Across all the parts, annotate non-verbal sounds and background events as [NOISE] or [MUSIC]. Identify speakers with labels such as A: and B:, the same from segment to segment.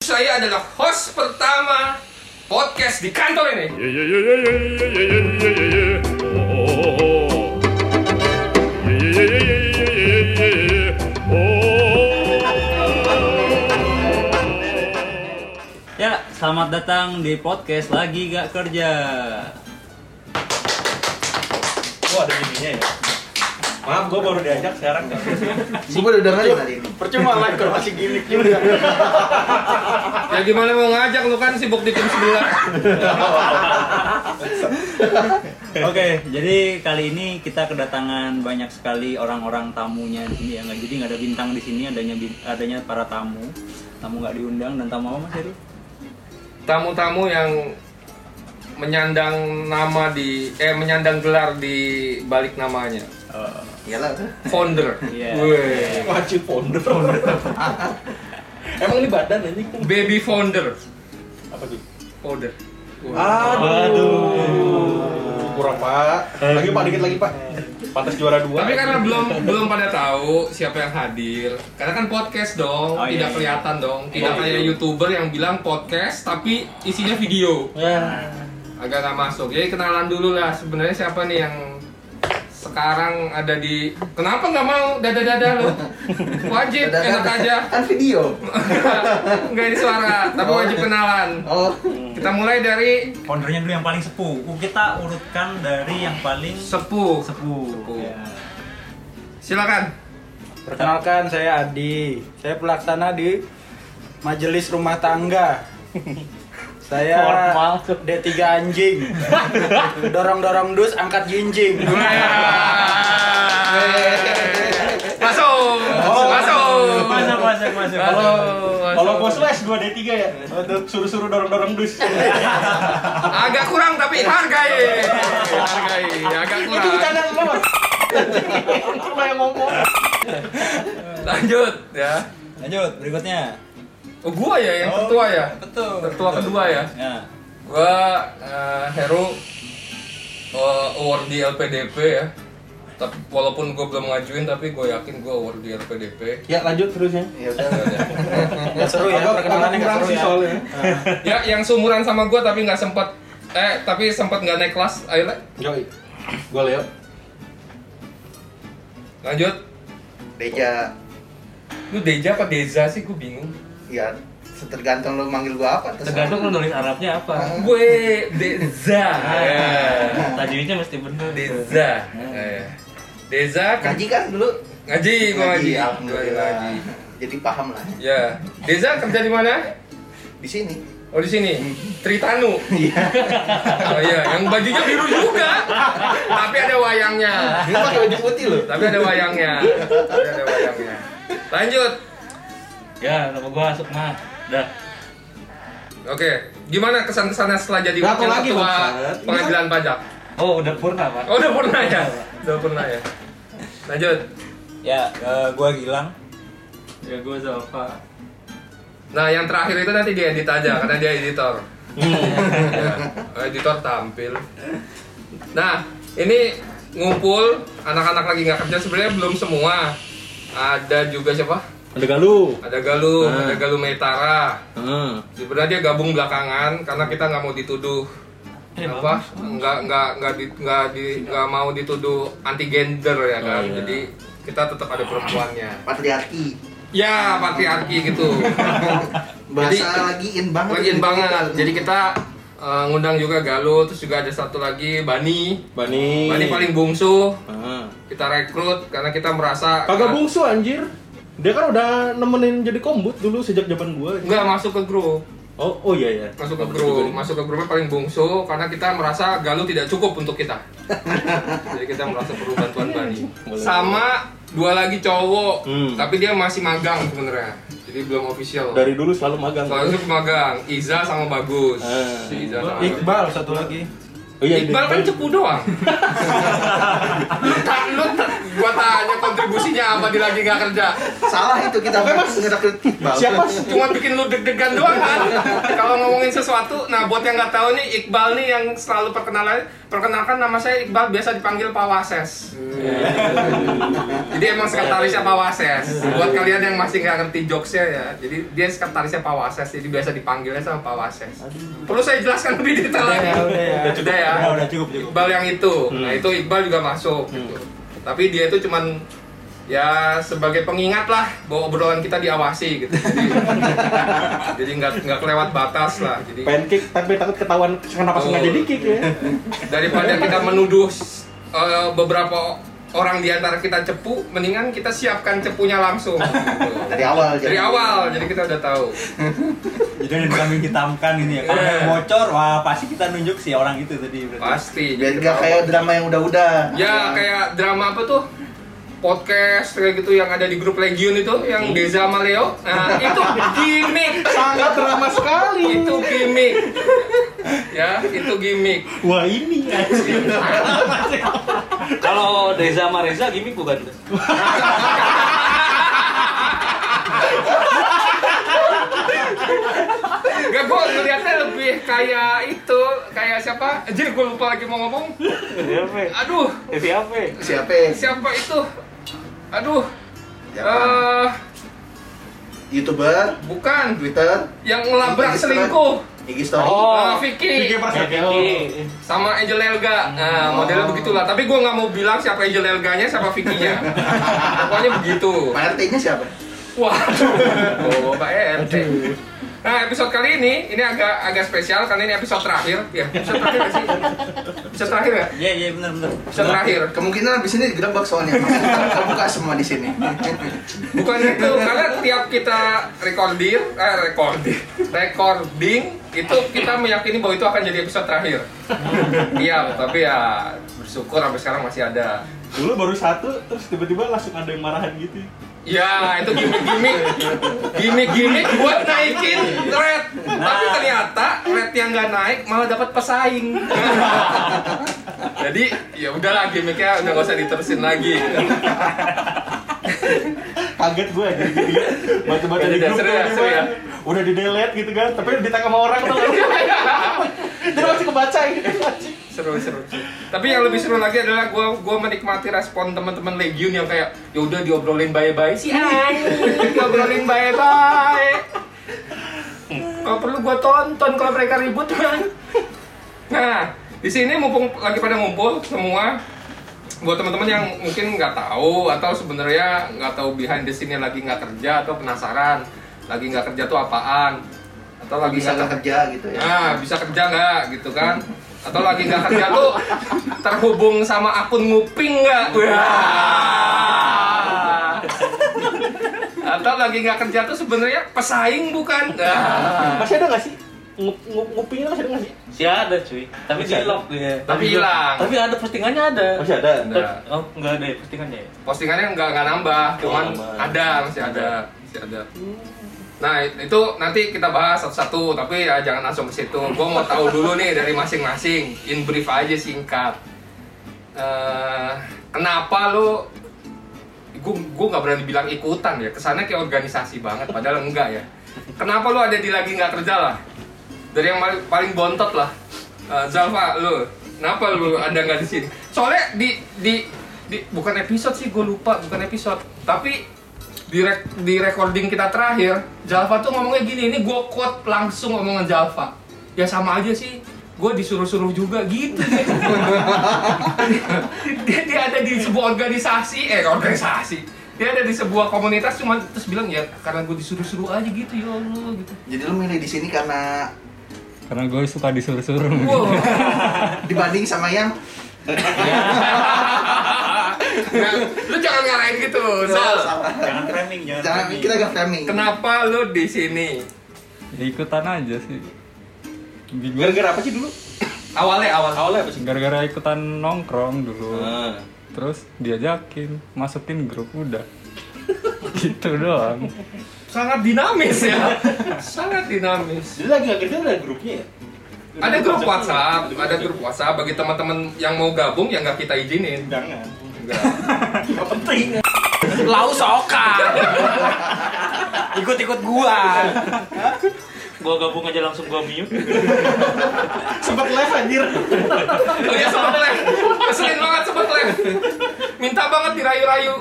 A: saya adalah host pertama podcast di kantor ini.
B: Yeah, yeah, yeah, yeah, yeah, yeah, yeah, yeah, yeah, yeah. Oh, oh, oh. Yeah, yeah, yeah, yeah, yeah, yeah, yeah, yeah, yeah, yeah. Oh.
C: Ya, selamat datang di podcast lagi gak kerja.
D: Gua ada miminya ya. Maaf, gue baru diajak sekarang.
E: Gue udah dengerin tadi ini.
D: Percuma live kalau masih gimmick juga.
A: Ya gimana mau ngajak lu kan sibuk di tim sebelah.
C: Oke, jadi kali ini kita kedatangan banyak sekali orang-orang tamunya di sini ya. Nggak, jadi nggak ada bintang di sini, adanya bin- adanya para tamu. Tamu nggak diundang dan tamu apa Mas Heri?
A: Tamu-tamu yang menyandang nama di eh menyandang gelar di balik namanya.
C: Oh,
E: Iyalah.
A: Founder.
C: Iya.
A: Weh.
D: Wajib founder. Emang ini badan anjing?
A: Baby founder.
D: Apa sih?
A: Founder.
D: Aduh. Eh, Kurang, Pak. Lagi, Pak, dikit lagi, Pak. Pantas juara dua.
A: Tapi karena belum belum pada tahu siapa yang hadir. Karena kan podcast dong,
C: Oh,
A: tidak
C: iya, iya.
A: kelihatan dong. Tidak
D: Oh,
A: kayak
D: iya.
A: YouTuber yang bilang podcast tapi isinya video.
D: Ya.
A: agak nggak masuk. Jadi kenalan dulu lah sebenarnya siapa nih yang sekarang ada di kenapa nggak mau dada dada lo wajib enak aja
E: Kan video.
A: [LAUGHS] nggak ini suara tapi wajib kenalan
E: Oh.
A: kita mulai dari
C: Foundernya dulu yang paling sepuh. Uh, Kita urutkan dari yang paling
A: sepuh
C: sepuh.
A: Sepuh.
C: Ya.
A: silakan
F: Perkenalkan saya Adi. Saya pelaksana di Majelis Rumah Tangga. Saya
D: Formal tuh.
F: D3 anjing. Dorong-dorong dus angkat jinjing.
A: masuk masuk
C: Masuk, masuk, masuk.
A: Halo,
D: Kalau bos les, gua D3 ya. Suruh-suruh dorong-dorong dus.
A: agak kurang tapi hargai hargai agak
D: Itu
A: kurang
D: bercanda lo. Cuma yang ngomong.
A: lanjut ya
C: Lanjut, berikutnya.
A: oh gua ya yang ketua ya
C: Betul.
A: Tertua kedua ya?
C: Ya.
A: gua eh, Heru eh, award di LPDP ya tapi walaupun gua belum ngajuin tapi gue yakin gua award di LPDP
D: Ya, lanjut terusnya.
E: Ya udah.
F: Nggak seru ya perkenalannya nggak seru ya.
A: ya yang seumuran sama gua tapi nggak sempat eh tapi sempat nggak naik kelas akhirnya
D: Yoi. Gua Leo.
A: lanjut
E: Deja
A: lu Deja apa Deza sih gue bingung
E: ya tergantung lu manggil gua apa terserah.
G: Tergantung lu nulis Arabnya apa.
F: Ah.
G: Nah,
A: gue Deza
C: Ah, iya.
A: Ya.
G: Tajwidnya mesti bener.
A: Deza Ya. Deza
E: Ngaji kan dulu?
A: ngaji gua ngaji Gua
E: alhamdulillah.
A: Iya.
E: Jadi paham lah.
A: ya Deza kerja di mana
E: Di sini.
A: Oh di sini Tritanu. [LAUGHS] oh iya, yang bajunya biru juga. Tapi ada wayangnya.
E: Ini pakai baju putih loh.
A: Tapi ada wayangnya. Tapi ada wayangnya. Lanjut.
G: Ya, nama gua Sukma. Dah.
A: Oke, gimana kesan-kesannya setelah jadi
D: Berapa
A: wakil
D: lagi,
A: ketua
D: Bangsat?
A: pengadilan pajak?
G: Oh, udah purna, Pak.
A: Oh, udah pernah ya? Udah pernah ya. Lanjut.
C: Ya, eh, gua Gilang.
G: Ya gua Zalfa.
A: Nah, yang terakhir itu nanti diedit aja karena dia editor. Ya, editor tampil. Nah, ini ngumpul anak-anak lagi nggak kerja sebenarnya belum semua. Ada juga siapa?
D: Ada galuh.
A: Ada Galuh,
D: Ah.
A: ada Galuh Metara.
D: Heeh.
A: Sebenarnya dia gabung belakangan karena kita nggak mau dituduh apa? Nggak nggak nggak di- nggak di- nggak mau dituduh anti gender ya kan.
D: iya.
A: Jadi kita tetap ada perempuannya.
E: Patriarki.
A: Ya, patriarki
D: [LAUGHS]
A: gitu.
E: Bahasa
A: Jadi-
E: lagi in banget.
A: Lagiin banget. Jadi kita eh, ngundang juga Galuh, terus juga ada satu lagi Bani.
D: Bani.
A: Bani paling bungsu.
D: Heeh.
A: Kita rekrut karena kita merasa
D: Kagak bungsu anjir. Dia kan udah nemenin jadi kombut dulu sejak zaman gua.
A: Enggak masuk ke grup.
D: Oh, oh iya iya.
A: masuk ke
D: Kombut juga
A: grup
D: nih.
A: masuk ke grupnya paling bungsu karena kita merasa Galuh tidak cukup untuk
D: [LAUGHS]
A: kita jadi kita merasa perlu bantuan Bani
D: Boleh.
A: sama dua lagi cowok
D: Hmm.
A: tapi dia masih magang sebenarnya jadi belum official
D: Dari dulu selalu magang.
A: soalnya itu magang Iza sama Bagus
D: Eh.
A: Si Iza sama Bagus.
F: Iqbal satu lagi.
D: Oh, iya,
A: Iqbal kan cepu doang. lu tak lu tak Gua tanya kontribusinya apa di lagi nggak kerja?
E: Salah itu kita ngerekrut Iqbal.
D: Siapa sih?
A: Cuma bikin lu deg-degan doang kan? Kalau ngomongin sesuatu, nah buat yang nggak tahu nih Iqbal nih yang selalu perkenalan, perkenalkan nama saya Iqbal biasa dipanggil Pak Wases. Jadi emang sekretarisnya Pak Wases. Buat kalian yang masih nggak ngerti jokesnya ya, jadi dia sekretarisnya Pak Wases, jadi biasa dipanggilnya sama Pak Wases. Perlu saya jelaskan lebih detail lagi.
F: udah ya.
A: Udah, ya.
C: Udah, udah cukup cukup.
A: Iqbal yang itu. Nah, itu Iqbal juga masuk gitu. Tapi dia itu cuman ya sebagai pengingat lah bahwa obrolan kita diawasi gitu. Jadi [LAUGHS] jadi nggak nggak kelewat batas lah. Jadi
D: Pancake tapi takut ketahuan kenapa
A: Oh.
D: sengaja dikik ya.
A: daripada kita menuduh eh, beberapa orang di antara kita cepu, mendingan kita siapkan cepunya langsung. gitu.
E: Dari awal.
A: Dari awal, jadi kita udah tahu.
C: Jadi udah dikambing hitamkan ini ya.
A: Iya.
C: Kalau ada yang bocor, wah pasti kita nunjuk si orang itu tadi berarti.
A: Pasti.
E: Biar
A: jadi
E: nggak
A: ketahuan.
E: kayak drama yang udah-udah.
A: Ya kayak drama apa tuh? Podcast kayak gitu yang ada di grup Legion itu yang Geza sama Leo. Nah, itu gimmick.
D: Sangat drama sekali.
A: itu gimmick. Ya, itu gimmick.
C: Wah ini ya.
G: Kalau Deza sama Reza gimmick bukan?
A: Gak gue ngeliatnya lebih kayak itu, kayak siapa? Anjir gue lupa lagi mau ngomong.
G: Siapa?
A: Aduh,
G: Siapa?
E: Siapa?
A: siapa itu? Aduh, eh
E: Siapa? YouTuber,
A: bukan
E: Twitter,
A: yang ngelabrak selingkuh.
E: IG Story.
G: Oh.
A: Eh, Vicky.
C: Oh.
D: gitu.
C: Iya,
A: sama Angel Elga nah, modelnya begitulah tapi gue nggak mau bilang siapa Angel Elganya siapa Vicky-nya pokoknya begitu
E: Pak RT-nya siapa?
A: waduh oh Pak RT nah episode kali ini ini agak agak spesial karena ini episode terakhir ya episode terakhir nggak sih episode terakhir ya
C: Iya iya benar benar.
A: episode terakhir
E: Kemungkinan abis ini digerebek
A: [LAUGHS]
E: soalnya. Makanya kita terbuka semua di sini.
A: bukan itu karena tiap kita recording eh recording recording itu kita meyakini bahwa itu akan jadi episode terakhir iya tapi ya bersyukur sampai sekarang masih ada
D: Dulu baru satu terus tiba-tiba langsung ada yang marahan gitu.
A: Ya, itu gimmick-gimmick. Gimmick-gimmick buat naikin red. Tapi ternyata red yang nggak naik malah dapat pesaing. Jadi, ya udahlah gimmicknya udah gak usah diterusin lagi.
D: Kaget gue aja gitu. Baca-baca
A: Udah,
D: di
A: udah,
D: grup
A: seru ya,
D: tiba-tiba
A: seru ya.
D: udah di delete gitu kan, tapi ditangkap sama orang tuh. Jadi masih kebaca gitu.
A: seru seru seru. tapi yang lebih seru lagi adalah gue gua menikmati respon teman-teman legion yang kayak ya udah diobrolin bye-bye sih anjing diobrolin bye-bye kalau perlu gue tonton kalau mereka ribut kan nah di sini mumpung lagi pada ngumpul semua buat teman-teman yang mungkin nggak tahu atau sebenarnya nggak tahu behind the scene lagi nggak kerja atau penasaran lagi nggak kerja tuh apaan atau lagi
E: Bisa
A: nggak
E: nggak kerja gitu ya.
A: Nah, bisa kerja nggak gitu kan? Atau lagi nggak kerja tuh terhubung sama akun nguping nggak? Wah. Atau lagi nggak kerja tuh sebenarnya pesaing bukan? Nah.
D: Masih ada nggak sih? Ngup- ngup- Ngupingnya masih ada nggak sih?
G: Si ada cuy, tapi di
D: Masih ada?
G: lock ya.
A: Tapi hilang.
G: Tapi ada postingannya ada.
D: Masih ada.
A: Ada.
G: Oh, enggak ada ya postingannya. ya?
A: Postingannya nggak nggak nambah, cuman
G: nambah.
A: ada masih ada masih ada. Nah it- itu nanti kita bahas satu-satu, tapi ya jangan langsung ke situ. Gue mau tahu dulu nih dari masing-masing, in brief aja singkat. Eh, kenapa lo? Gue gue nggak berani bilang ikutan ya, kesannya kayak organisasi banget, padahal enggak ya. Kenapa lo ada di lagi nggak kerja lah? Dari yang paling, paling bontot lah. Eh, Zalfa lo, kenapa lo ada nggak di sini? Soalnya di di di- bukan episode sih gue lupa bukan episode tapi di, rek- di recording kita terakhir, Jalva tuh ngomongnya gini, ini gue quote langsung omongan Jalva. Ya sama aja sih, gue disuruh-suruh juga gitu [LAUGHS] deh. dia, dia ada di sebuah organisasi, eh organisasi. Dia ada di sebuah komunitas cuma terus bilang ya karena gue disuruh-suruh aja gitu ya Allah gitu.
E: Jadi lu milih di sini karena
C: Karena gue suka disuruh-suruh.
A: Wow.
E: dibanding sama yang
A: Nah, lu jangan ngarahin gitu, Zal.
C: Jangan framing, jangan.
E: jangan
C: framing.
E: kita gak framing.
A: Kenapa lu di sini?
H: Ya, ikutan aja sih Bingung.
D: Gara-gara apa sih dulu?
A: Awalnya awal.
D: Awalnya apa sih?
H: gara-gara ikutan nongkrong dulu
D: Ah.
H: terus diajakin masukin grup
G: [LAUGHS]
H: udah gitu doang
A: Sangat dinamis ya. Sangat dinamis.
D: Dulu lagi nggak kerja udah ada grupnya ya?
A: ada grup WhatsApp, ada grup WhatsApp bagi teman-teman yang mau gabung yang ya nggak kita izinin.
D: Jangan.
A: Enggak.
F: Lau soka. Ikut-ikut
C: [LAUGHS]
F: gua.
G: Gua gabung aja langsung gua mute.
D: Sempet live anjir.
A: Oh iya sempet live. Keselin banget sempet live. Minta banget dirayu-rayu.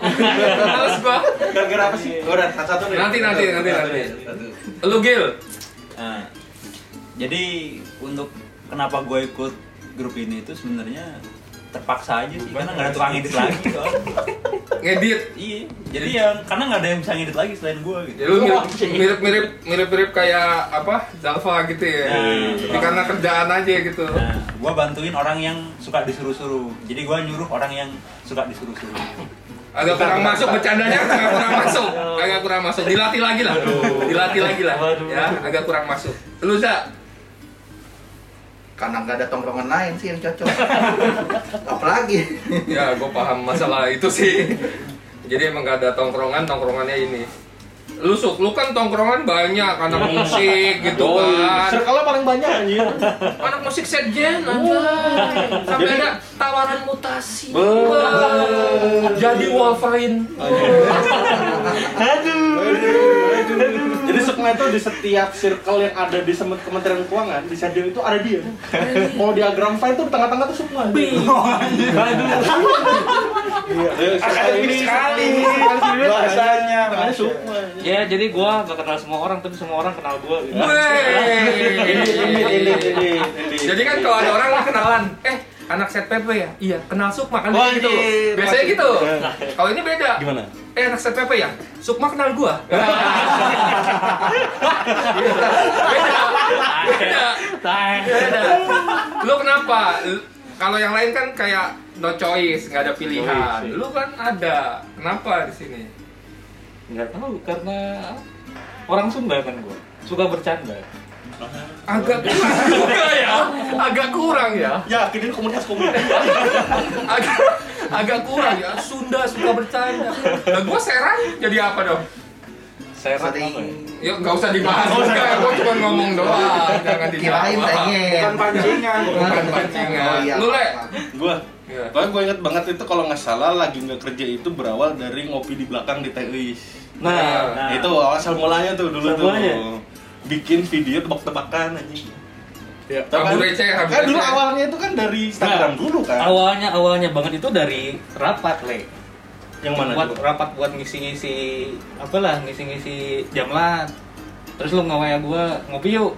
A: Males gua.
D: Gara-gara apa sih?
E: Udah, satu-satu nih.
A: Nanti nanti nanti nanti.
E: Satu.
A: Lu Gil.
C: Nah, jadi untuk kenapa gue ikut grup ini itu sebenarnya terpaksa aja sih karena nggak ada tukang edit
G: [LAUGHS]
C: lagi soalnya.
A: Ngedit.
C: iya jadi yang karena nggak ada yang bisa ngedit lagi selain gue gitu
A: Ya, lu mirip- mirip-mirip mirip-mirip kayak apa? Java gitu ya.
C: Nah,
A: Tapi karena kerjaan aja gitu.
C: nah gue bantuin orang yang suka disuruh-suruh jadi gue nyuruh orang yang suka disuruh-suruh
A: Agak kurang masuk bercandanya agak kurang masuk. Agak kurang masuk. Dilatih lagi lah. Dilatih lagi lah. Ya, agak kurang masuk. Lu Za,
E: Karena nggak ada tongkrongan lain sih
A: [LAUGHS]
E: yang cocok. Apalagi.
A: ya gue paham masalah itu sih jadi emang gak ada tongkrongan tongkrongannya ini lu suk lu kan tongkrongan banyak anak musik gitu kan
D: Circle-nya paling banyak anjir.
A: anak musik sekjen anjay sampai ada tawaran mutasi Wah, jadi wafain
D: Jadi sebenarnya tuh di setiap circle yang ada di Semen- Kementerian Keuangan, di Sekjen itu ada dia. Kalau di Agram Fine tuh di tengah-tengah tuh semua. Oh, Iya, akademik sekali. Bahasanya, makanya semua.
G: Ya, jadi gua gak kenal semua orang, tapi semua orang kenal gua gitu.
A: Wey. jadi kan kalau ada orang kenalan eh anak set PP ya iya kenal Sukma kan
D: Wah,
A: gitu
D: anjir.
A: biasanya gitu kalau ini beda gimana eh anak set PP ya Sukma kenal [LAUGHS] gua beda beda beda lu kenapa Lu- kalau yang lain kan kayak no choice nggak ada pilihan lu kan ada kenapa di sini
G: Enggak tahu karena orang Sunda kan gua. Suka bercanda.
A: agak kurang juga ya agak kurang ya
D: Ya, akhirnya komunitas komunitas.
A: agak agak kurang ya Sunda suka bercanda nah gue serang jadi apa dong
G: Saya apa ya?
E: Sering.
A: ya nggak usah dibahas juga gue cuma ngomong doang jangan
E: Kirain
A: dijawab
E: pengen.
F: pancingan.
A: Iya. bukan pancingan
E: Oh, iya.
A: lu le
D: Gua
A: Iya.
D: Pokoknya gue inget banget itu kalau nggak salah lagi nggak kerja itu berawal dari ngopi di belakang di TUI.
G: Nah,
C: Nah.
D: Itu asal mulanya tuh dulu
G: Asal
D: tuh.
G: mulanya?
D: Bikin video tebak-tebakan anjing. Ya,
A: Abu receh, abu
D: kan dulu
A: receh.
D: awalnya itu kan dari Instagram
G: Nah.
D: dulu kan.
G: awalnya awalnya banget itu dari rapat, Le.
D: Yang mana
G: buat Nah,
D: dulu?
G: rapat buat ngisi-ngisi apalah ngisi-ngisi jamlat terus lu ngawaya gua ngopi yuk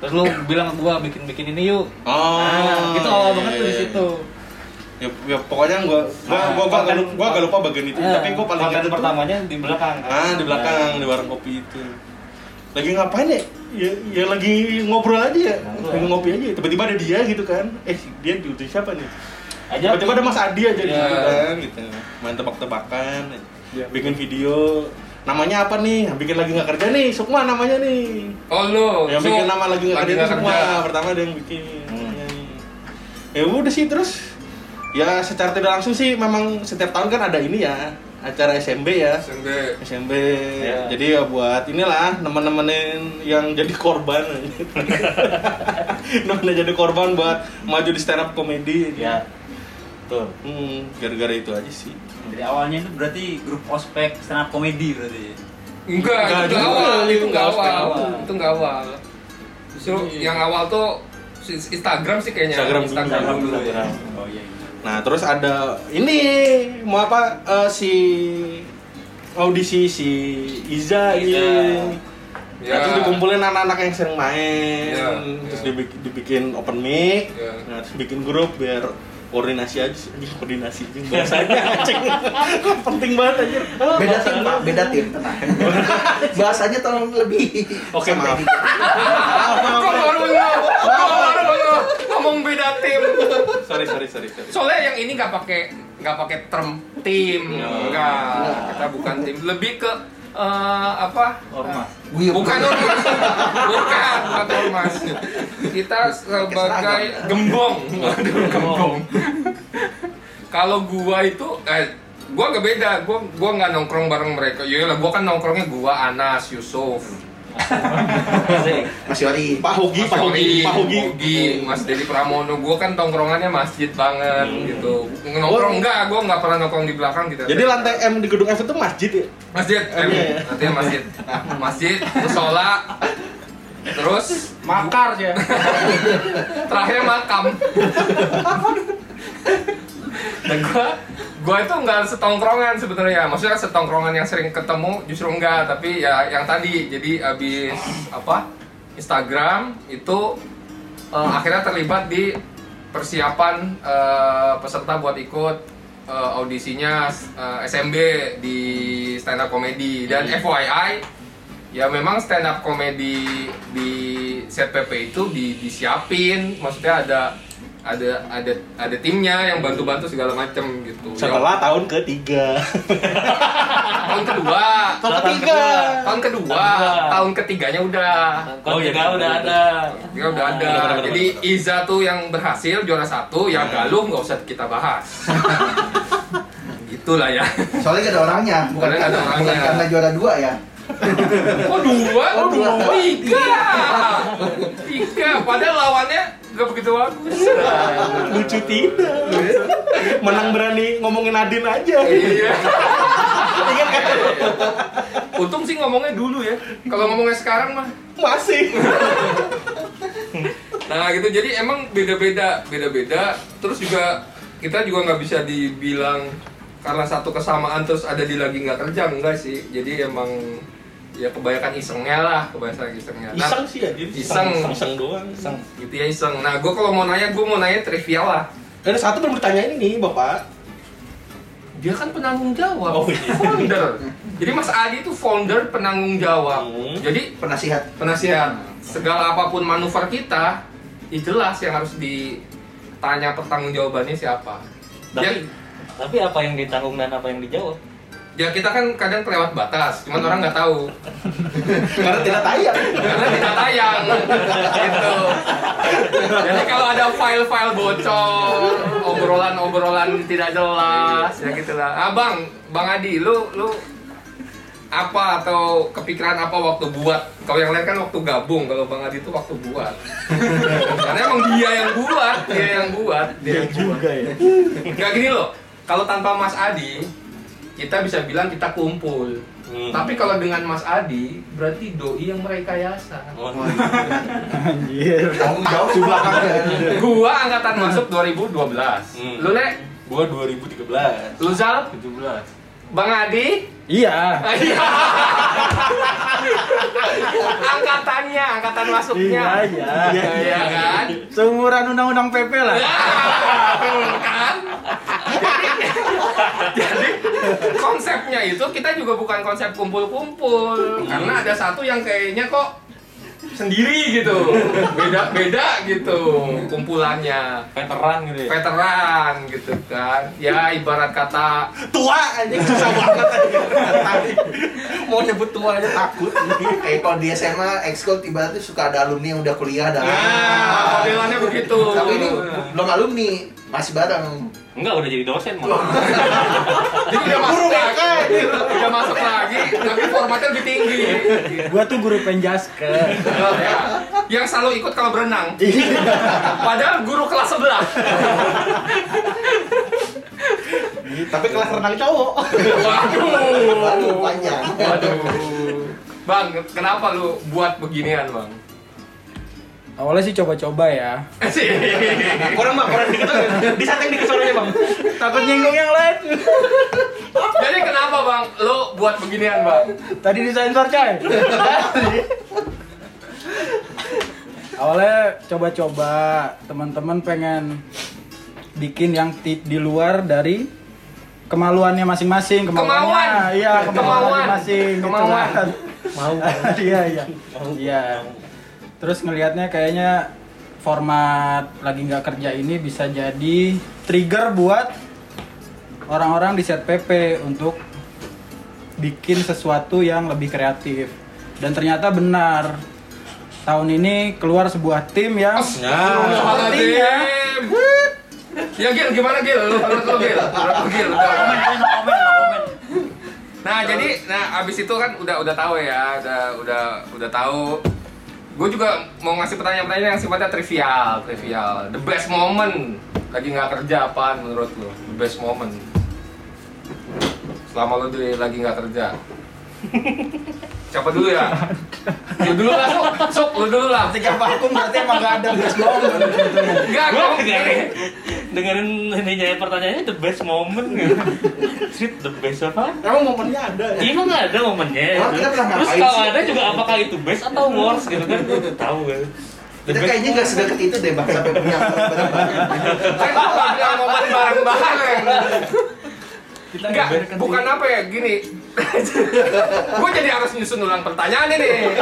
G: terus lu bilang ke gua bikin-bikin ini yuk
D: Oh,
G: nah, gitu awal
D: iya,
G: banget tuh
D: iya,
G: di
D: iya.
G: situ
D: Ya, ya, pokoknya gua gua
C: Ah,
D: gua,
G: Nah,
D: gua, gak
G: konten-
D: lupa, gua gak lupa bagian itu,
G: Nah,
D: tapi gua paling
G: konten
D: ingat itu
G: pertamanya di belakang kan?
D: ah di belakang di warung kopi itu. Lagi ngapain ya? Ya, ya lagi ngobrol aja ya, lagi ngopi aja. Tiba-tiba ada dia gitu kan. Eh, dia diutus siapa nih?
G: Nah,
C: Ya,
G: aja
D: Tiba-tiba ada Mas Adi aja di
A: Iya.
D: situ kan gitu. Main tebak-tebakan, bikin video. Namanya apa nih? Yang bikin lagi nggak kerja nih, Sukma namanya nih.
A: oh lu
D: Yang
A: Su,
D: bikin nama lagi nggak kerja
A: nggak
D: itu Sukma. Pertama ada yang bikin. Ya udah sih terus ya secara tidak langsung sih memang setiap tahun kan ada ini ya acara SMB ya.
A: Sende.
D: SMB.
G: Ya.
D: Jadi ya buat inilah nemen-nemenin yang jadi korban. Nemenin jadi korban buat maju di stand up comedy.
C: ya tuh
D: Hmm, gara-gara itu aja sih.
C: jadi awalnya itu berarti grup ospek stand up comedy
D: Iya,
C: berarti ya?
A: enggak
D: Enggak
A: itu nggak
D: juga,
A: awal itu nggak
D: nggak
A: awal
C: awal.
A: itu nggak awal justru yang awal tuh si- Instagram sih kayaknya
D: Instagram dulu.
A: Instagram dulu ya
C: oh iya iya.
D: Nah, terus ada ini mau apa eh, si audisi si Iza
G: Iza.
D: ini.
A: Ya.
D: Nah, terus dikumpulin anak-anak yang sering main,
A: Ya,
D: terus
A: ya.
D: dibik- dibikin open mic,
A: Ya.
D: nah, terus bikin grup biar koordinasi aja sih, Anjing, koordinasi aja bahasanya anjing. [LAUGHS] penting banget anjir.
E: Beda tim, Pak. Beda tim.
A: [LAUGHS]
E: Tenang. Bahasanya tolong lebih.
D: Oke, maaf.
A: Kok baru ngomong? Kok baru ngomong? Ngomong beda tim.
D: sorry, sorry, sorry, sorry.
A: Soalnya yang ini nggak pakai nggak pakai term tim, enggak. Kita bukan tim, lebih ke eh, apa?
C: ormas
E: Guyup.
A: Bukan ormas, bukan bukan ormas. Kita sebagai gembong, Waduh, gembong. Kalau gua itu, eh, Iya gua gak beda. Gua gua nggak nongkrong bareng mereka. Yalah, gua kan nongkrongnya gua Anas, Yusuf,
D: [LAUGHS]
G: Asik.
E: Mas Yori.
D: Pak Hogi, Pak Hogi, Pak Hogi.
A: Mas Dedi Pramono, gue kan tongkrongannya masjid banget gitu. Nongkrong enggak, gue enggak pernah nongkrong di belakang gitu.
D: Oh. Jadi lantai M di gedung F itu masjid ya?
A: masjid,
D: Oh,
A: em,
D: iya, iya.
A: artinya masjid, masjid, musola, terus
G: Makar ya.
A: terakhir makam. Dan gue, gue itu enggak setongkrongan sebenarnya. Maksudnya setongkrongan yang sering ketemu justru enggak, tapi ya yang tadi. Jadi abis apa? Instagram itu eh, akhirnya terlibat di persiapan eh, peserta buat ikut eh, audisinya eh, SMB di stand up comedy dan FYI ya memang stand up comedy di ZPP itu di- disiapin maksudnya ada ada ada ada timnya yang bantu-bantu segala macem gitu.
D: Setelah tahun ketiga.
A: Ya, tahun kedua,
D: Tahun ketiga.
A: tahun kedua, tahun ketiganya udah.
G: Oh,
C: iya,
G: juga
C: betul,
G: udah
C: betul.
G: ada.
A: Dia Ya udah ada. Jadi Iza tuh yang berhasil juara satu, ya Galuh nggak usah kita [LAUGHS] bahas. Itulah ya.
E: Soalnya gak ada orangnya, bukan
A: Soalnya nggak ada
E: karena,
A: orangnya.
E: bukan karena juara dua ya.
A: Oh dua,
E: Oh,
A: oh,
E: dua.
A: dua, tiga, tiga. Padahal lawannya nggak begitu bagus.
D: Lucu tidak. Menang berani ngomongin Adin aja. kan?
A: Iya. Untung sih ngomongnya dulu ya. Kalau ngomongnya sekarang mah
D: Masih.
A: Nah gitu jadi emang beda-beda, beda-beda. Terus juga kita juga nggak bisa dibilang karena satu kesamaan terus ada di lagi nggak kerja enggak sih. Jadi emang ya kebanyakan isengnya lah, kebanyakan isengnya. Nah,
D: Iseng sih Adin.
A: Iseng.
D: Iseng doang. Iseng.
A: gitu ya iseng. Nah gue kalau mau nanya gue mau nanya trivial lah.
D: Eh, Ada satu belum ditanyain ini Bapak.
A: Dia kan penanggung jawab,
D: Oh, iya.
A: founder. Jadi Mas Adi itu founder penanggung jawab.
D: Hmm.
A: Jadi
E: Penasihat.
A: penasihat segala apapun manuver kita ya jelas yang harus ditanya pertanggungjawabannya siapa ya,
G: Tapi tapi apa yang ditanggung dan apa yang dijawab? Hmm.
A: ya kita kan kadang kelewat batas cuman orang nggak tahu
D: Karena tidak tayang.
A: karena tidak tayang gitu jadi kalau ada file-file bocor obrolan-obrolan tidak jelas ya gitulah abang bang Adi lu lu apa atau kepikiran apa waktu buat kalau yang lain kan waktu gabung kalau bang Adi itu waktu buat karena emang dia yang buat dia yang buat dia yang buat
D: Juga ya.
A: Gak gini loh, kalau tanpa Mas Adi, kita bisa bilang kita kumpul.
D: Hmm.
A: Tapi kalau dengan Mas Adi, berarti doi yang merekayasa.
D: Oh, iya.
E: Tanggung jawab di belakang ya.
A: Gua angkatan masuk 2012.
D: Hmm.
A: Lu Nek,
D: Gua 2013.
A: lu Zal,
D: 17.
A: Bang Adi.
H: Iya. angkatannya,
A: angkatan masuknya.
H: Iya, iya.
A: Iya, iya kan?
F: Seumuran undang-undang PP lah.
A: Betul kan? Jadi, jadi konsepnya itu kita juga bukan konsep kumpul-kumpul karena ada satu yang kayaknya kok sendiri gitu beda-beda gitu kumpulannya
G: Veteran gitu ya.
A: veteran gitu kan ya ibarat kata
D: Tua anjing susah banget anjing. Mau nyebut tua aja takut.
E: Eh kalau di SMA, ekskul tiba-tiba suka ada alumni yang udah kuliah dan.
D: Ah.
A: nah modelannya begitu
E: Tapi ini belum alumni, masih bareng.
G: Enggak udah jadi dosen malah.
A: jadi udah masuk
D: kan?
A: lagi udah masuk lagi tapi formatnya lebih tinggi
F: Gua tuh guru penjaske.
A: Ya, yang selalu ikut kalau berenang padahal guru kelas sebelah
D: Tapi kelas renang cowok.
E: Waduh, panjang.
A: Waduh. Bang, kenapa lu buat beginian, Bang? Eh,
F: Awalnya sih coba-coba ya.
D: Kurang bang, kurang dikit lagi. Disateng dikit suaranya bang.
F: Takut nyinggung yang lain.
A: Jadi kenapa, Bang? Lu buat beginian, Bang?
F: Tadi disensor coy. Awalnya coba-coba teman-teman pengen bikin yang ti- di luar dari kemaluannya masing-masing
A: Kemauan.
F: kemauannya iya
A: Kemauan.
F: kemauan masing-masing gitu
A: Kemauan.
F: kan. mau iya iya iya terus ngelihatnya kayaknya format lagi nggak kerja ini bisa jadi trigger buat orang-orang di set PP untuk bikin sesuatu yang lebih kreatif dan ternyata benar tahun ini keluar sebuah tim yang
D: Ya.
F: sepertinya
A: Astagfirullahaladzim. Ya Gil, gimana Gil? Lu menurut lu Gil? Menurut lu Gil? Udah. Nah jadi, nah abis itu kan udah udah tahu ya, udah udah udah tahu. Gue juga mau ngasih pertanyaan-pertanyaan yang sifatnya trivial, trivial. The best moment lagi nggak kerja apaan menurut lo? The best moment selama lo di, lagi nggak kerja. Siapa dulu ya? Lu dulu lah, sok, sok lu dulu lah.
D: Ya,
E: Tiga vakum berarti emang gak ada best moment sebetulnya.
A: Enggak,
G: Gua
A: gua
G: dengerin dengerin ininya pertanyaannya the best moment gitu. Street the best apa?
D: Emang momennya ada ya?
G: Iya emang nggak ada momennya.
E: Orang kita pernah
G: Terus
E: ngapain
G: kalau
E: sih?
G: ada juga apakah itu best atau worst gitu kan? Gue udah tahu kan. The
E: Kita
G: best-
E: kayaknya gak sedekat itu deh bang sampai punya barang-barang.
A: Kan gua bilang momen bareng-bareng. Enggak, bukan apa ya, gini. gue jadi harus nyusun ulang pertanyaan ini.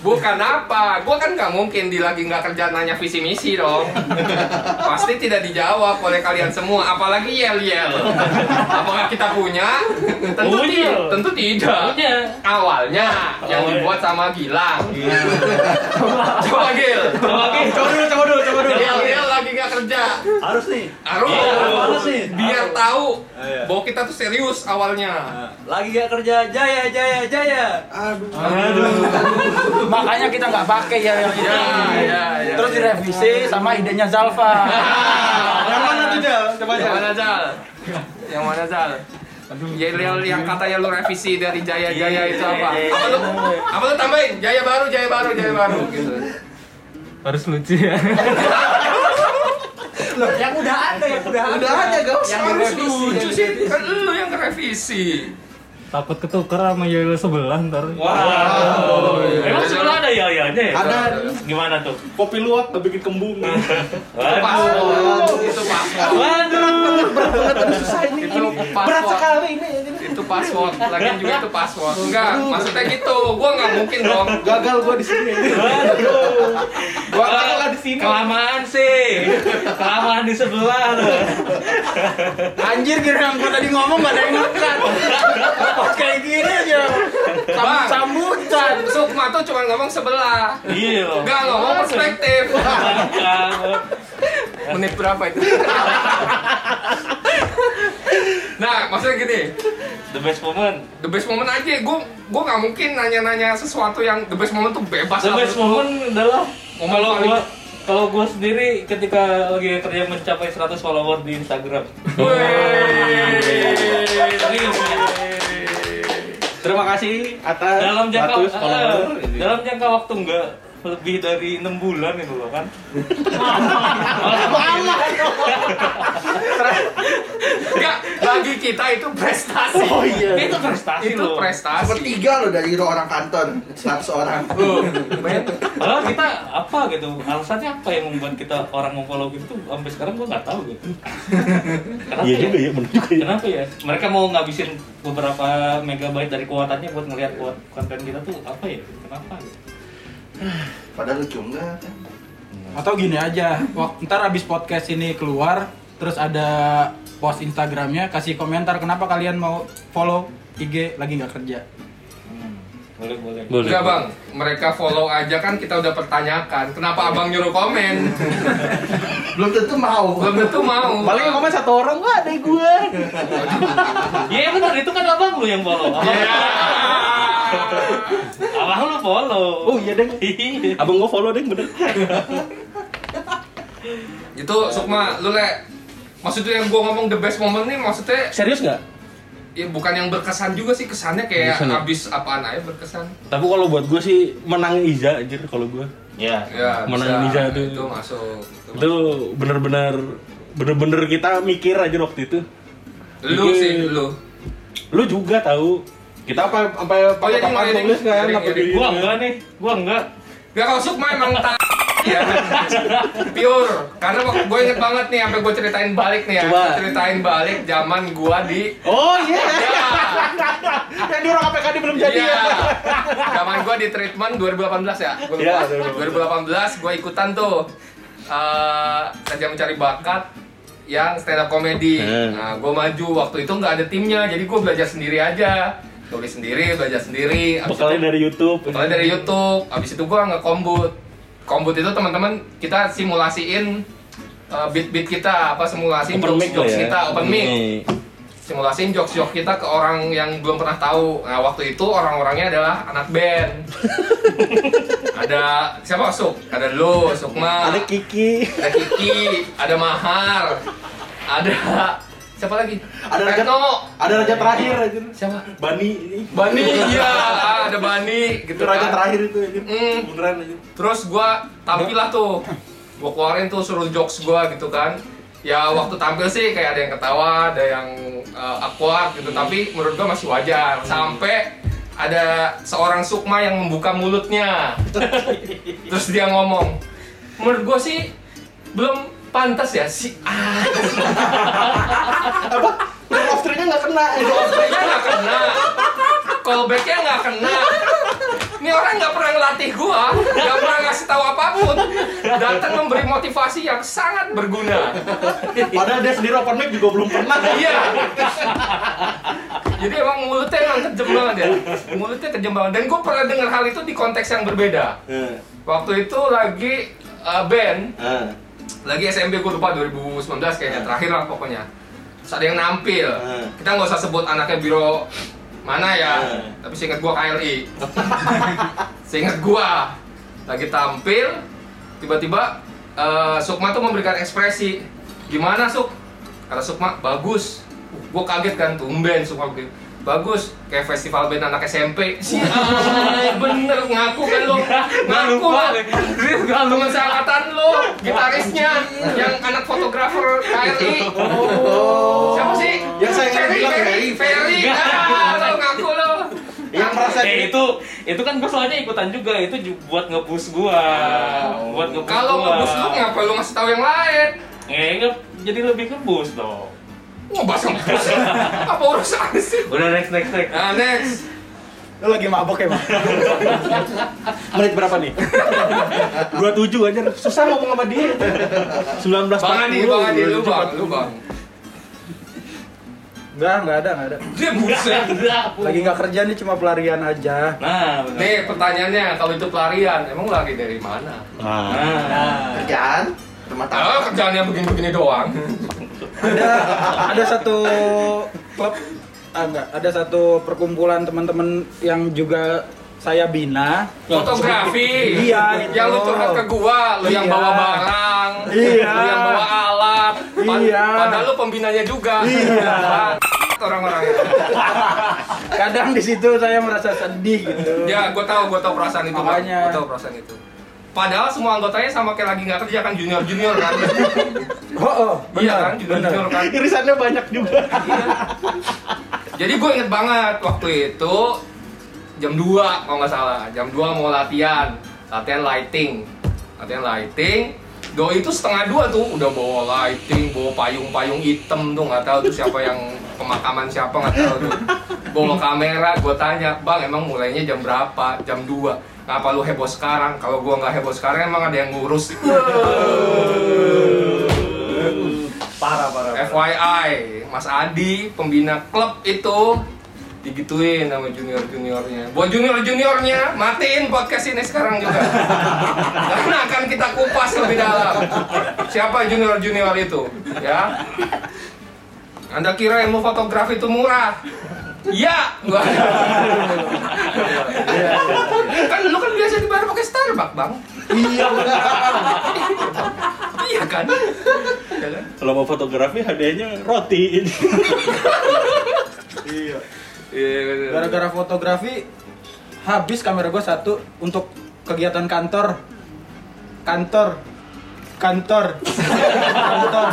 A: Bukan apa, gue kan nggak mungkin di lagi nggak kerja nanya visi misi dong. Pasti tidak dijawab oleh kalian semua, apalagi yel yel. Apakah kita punya? Tentu
G: Punya.
A: tidak. Tentu tidak.
G: Punya.
A: Awalnya yang
G: Awalnya. Iya.
A: dibuat sama Gilang. Coba Gil.
G: Coba Gil.
A: Eh, coba dulu, coba dulu, coba dulu.
E: Ya,
A: Yel yel lagi nggak kerja.
C: Harus nih.
A: Harus.
D: Iya.
C: Harus nih.
A: Biar tahu
C: Iya.
D: Ah,
A: bahwa kita tuh serius awalnya.
C: Lagi gak kerja, jaya, jaya, jaya.
F: Makanya kita nggak pakai ya yang itu.
A: Ya,
D: Iya,
A: ya, ya.
F: Terus direvisi sama idenya Zalfa.
D: Ah.
F: [LAUGHS]
D: Yang mana tuh Jal? Coba
A: Yang
D: Jal
A: mana Zal? Yang mana Zal? Yel yel yang katanya lu revisi dari Jaya
D: Iya,
A: Jaya itu apa? Apa lu? Apa lu tambahin? Jaya baru, Jaya baru, Jaya baru gitu.
H: Harus lucu ya.
C: Yang udah ada, yang udah ada.
E: Udah aja gak usah
A: Yang harus lucu sih kan lu yang revisi.
H: Takut ketuker sama Yoyo sebelah ntar.
G: Wow.
D: Oh,
G: Emang sebelah ada ya ya
D: Ada.
G: Gimana tuh?
D: iya. Kopi luwak gak bikin kembung
A: Pas. Itu pas.
G: Waduh.
A: Itu pas.
D: Berat sekali ini
A: itu password lagian juga itu password enggak maksudnya gitu gua nggak mungkin dong
D: Gagal gua di sini.
A: gua
G: di sini. Kelamaan sih. Kelamaan di sebelah tuh.
F: Anjir kira gue tadi ngomong gak ada yang ngekat. Kayak gini aja.
A: Bang.
F: Sambut-sambutan.
A: Sukma tuh cuma ngomong sebelah
G: Iya. loh.
A: enggak ngomong perspektif
G: Bangka.
A: [LAUGHS] menit berapa itu [LAUGHS] nah maksudnya gini
G: The best moment.
A: the best moment aja gua gua nggak mungkin nanya-nanya sesuatu yang the best moment tuh bebas
G: The
A: lah.
G: best moment adalah
A: Momen
G: kalau
A: paling-
G: gua kalau gua sendiri ketika lagi kerja mencapai 100 follower di Instagram.
A: Wey.
G: Serius.
D: Terima kasih atas
G: dalam jangka
D: status follower.
C: Ah.
G: eh, dalam jangka waktu enggak lebih dari enam bulan itu loh kan
A: enggak bagi kita itu prestasi
D: Oh iya.
G: itu prestasi
A: itu
G: loh
A: prestasi
E: Sepertiga loh dari orang kantor 100 orang.
A: Tuh, men.
G: Padahal kita apa gitu alasannya apa yang membuat kita orang mau follow gitu sampai sekarang gua nggak tahu gitu kenapa
D: Iya juga ya, bener juga ya.
G: kenapa ya mereka mau ngabisin beberapa megabyte dari kuatannya buat ngelihat kuat konten kita tuh apa ya kenapa gitu?
E: Padahal lucu enggak kan?
F: Atau gini aja, Ya, wak- ntar abis podcast ini keluar, terus ada post Instagramnya, kasih komentar kenapa kalian mau follow IG lagi nggak kerja.
G: boleh boleh
H: Boleh.
A: Enggak bang, mereka follow aja kan kita udah pertanyakan Kenapa abang nyuruh komen?
E: Belum tentu mau.
A: Belum tentu mau
D: Paling yang komen satu orang, wah ada gua.
G: Iya benar itu kan abang lu yang follow. Abang,
D: Iya.
A: Ya.
G: abang lu follow.
D: Oh iya deng.
G: Iya.
D: Abang gua follow deng bener.
A: Itu Sukma, lu le Maksudnya yang gua ngomong the best moment nih maksudnya
D: Serius nggak?
A: ya bukan yang berkesan juga sih kesannya kayak
D: Berkesan ya?
A: abis apaan aja berkesan
D: Tapi kalau buat gua sih menang Iza anjir kalau gua.
A: ya
D: Menang
A: bisa.
D: Nah, Indonesia tuh.
A: itu masuk itu
D: Itu bener-bener bener-bener kita mikir aja waktu itu.
A: masuk. lu sih lu
D: Lu juga tahu. Kita apa apa apa
A: iya,
D: apa
A: iya, iya.
D: nulis kan
A: Iya,
D: apa
A: iya,
D: di
G: Gua enggak nih, gua enggak.
A: Gak kalau Sukma emang tak ya, pure karena waktu gue inget banget nih sampai gue ceritain balik nih ya
D: Coba.
A: Gua ceritain balik zaman gua di
D: Oh iya.
A: Ya.
D: Yang di orang APKD belum jadi
A: Iya.
D: ya.
A: Zaman gua di treatment 2018 ya. Gua
D: Iya,
A: lupa. 2018 gua ikutan tuh. eh saja mencari bakat yang stand up comedy.
D: Hmm.
A: Nah, gua maju waktu itu nggak ada timnya, jadi gua belajar sendiri aja. Tulis sendiri, belajar sendiri. Abis
D: Bekalnya
A: itu,
D: dari YouTube.
A: bekalnya dari YouTube. Abis itu gua ngekombut. Kombut itu teman-teman kita simulasiin eh, beat-beat kita apa simulasi
D: Open mic lah
A: jokes
D: ya.
A: kita open mic simulasiin jokes-jokes kita ke orang yang belum pernah tahu. Nah, waktu itu orang-orangnya adalah anak
D: [LAUGHS]
A: band. ada siapa Suk? Ada lu, Sukma.
D: Ada Kiki.
A: ada Kiki, ada Mahar. Ada siapa lagi?
D: Ada Rajat.
A: Retno.
D: Ada raja terakhir aja.
A: Siapa?
D: Bani ini. [LAUGHS]
A: Bani, iya, ah, ada Bani
D: Itu
A: gitu kan.
D: raja terakhir itu aja.
A: Hmm.
D: Beneran aja.
A: Terus gua tampil lah tuh. Gua keluarin tuh suruh jokes gua gitu kan. Ya waktu tampil sih kayak ada yang ketawa, ada yang uh, awkward gitu, tapi menurut gua masih wajar.
D: Hmm.
A: Sampai ada seorang sukma yang membuka
D: [LAUGHS]
A: mulutnya. Terus dia ngomong, "Menurut gua sih belum pantas ya si A."
D: Apa? Udah off track-nya nggak kena. Itu off track.
A: Callbacknya nggak kena. Callbacknya nggak kena. Ini orang nggak pernah ngelatih gua, nggak pernah ngasih tahu apapun. Datang memberi motivasi yang sangat berguna.
D: Padahal dia sendiri open mic juga belum pernah.
A: Iya. Jadi emang mulutnya emang kejem banget ya. Mulutnya kejem banget. Dan gua pernah dengar hal itu di konteks yang berbeda.
D: Eh,
A: Waktu itu lagi eh, band,
D: eh,
A: lagi SMP gua lupa 2019 kayaknya terakhir lah pokoknya. Terus ada yang nampil.
D: Hmm.
A: Kita nggak usah sebut anaknya biro mana ya.
D: Hmm.
A: Tapi seingat gua KLI. [LAUGHS] seingat gua lagi tampil tiba-tiba eh, Sukma tuh memberikan ekspresi gimana Suk kata Sukma bagus gue kaget kan tumben Sukma begitu bagus kayak festival band anak [LAUGHS] SMP sih bener ngaku kan
D: [LAUGHS]
A: lo ngaku lah
D: Iya,
A: temen seangkatan lo gitarisnya yang anak fotografer KRI siapa sih
D: Yang saya
A: Ferry
D: bilang,
A: Ferry
D: Ferry.
A: Ferry ah lo ngaku lo
D: Yang merasa
G: Eh itu itu kan gue soalnya ikutan juga itu ju- buat ngebus gua. Buat
A: Oh.
G: ngebus
A: kalau
G: gua.
A: ngebus lu ngapa lu ngasih tahu yang lain
G: Eh, nge- jadi lebih ngebus dong.
A: ngebahas ngebus apa urusan sih
G: Udah next next next.
A: nah next
F: Lu lagi mabok ya, Bang?
D: [LAUGHS] menit berapa nih? 27 aja susah ngomong sama dia. 19
A: bang Adi bang Adi lu bang lu bang
F: Enggak, enggak ada, enggak ada.
A: dia buset
F: Lagi nggak kerja nih cuma pelarian aja.
G: Nah, benar.
A: Nih pertanyaannya, kalau itu pelarian, emang lari dari mana?
G: Nah.
E: Kerjaan rumah
A: Kalau
E: tangga.
A: kerjaannya begini-begini doang.
F: Ada ada satu klub ah, enggak, ada satu perkumpulan teman-teman yang juga saya bina.
A: Fotografi.
F: Iya, itu.
A: Yang lu curhat ke gua, lu yang
F: Iya.
A: bawa barang,
F: Iya.
A: lu yang bawa alat.
F: Iya.
A: Padahal lu pembinanya juga.
F: Iya.
A: Bangsat Orang-orangnya.
F: Kadang di situ saya merasa sedih gitu.
A: Ya, gua tahu, gua tahu perasaan itu. Bang.
F: Makanya.
A: Gua tahu perasaan itu. Padahal semua anggotanya sama kayak lagi nggak kerja kan junior-junior kan.
F: [LAUGHS] Oh, oh
A: iya kan,
F: benar, benar.
A: junior-junior kan. Iya.
D: Irisannya banyak juga.
A: Jadi gue inget banget waktu itu jam 2 kalau nggak salah, jam 2 mau latihan, latihan lighting, latihan lighting. Doi itu setengah dua tuh udah bawa lighting, bawa payung-payung hitam tuh nggak tahu tuh siapa yang pemakaman siapa nggak tahu tuh. Bawa kamera, gue tanya, bang emang mulainya jam berapa? Jam 2 Ngapa lu heboh sekarang? Kalau gua nggak heboh sekarang emang ada yang
D: [LAUGHS]
A: ngurus.
D: Parah parah.
A: FYI, Mas Adi pembina klub itu digituin sama junior juniornya. Buat junior juniornya matiin podcast ini sekarang juga. Karena akan kita kupas lebih dalam. Siapa junior junior itu, ya? Anda kira ilmu fotografi itu murah? Ya, gua. kan lu kan biasa dibayar pakai Starbucks, Bang.
D: Iya benar.
A: Iya kan? Ya kan?
D: Kalau mau fotografi hadiahnya roti ini. iya.
A: Iya, bener.
F: Gara-gara fotografi habis kamera gua satu untuk kegiatan kantor. Kantor. Kantor. Kantor.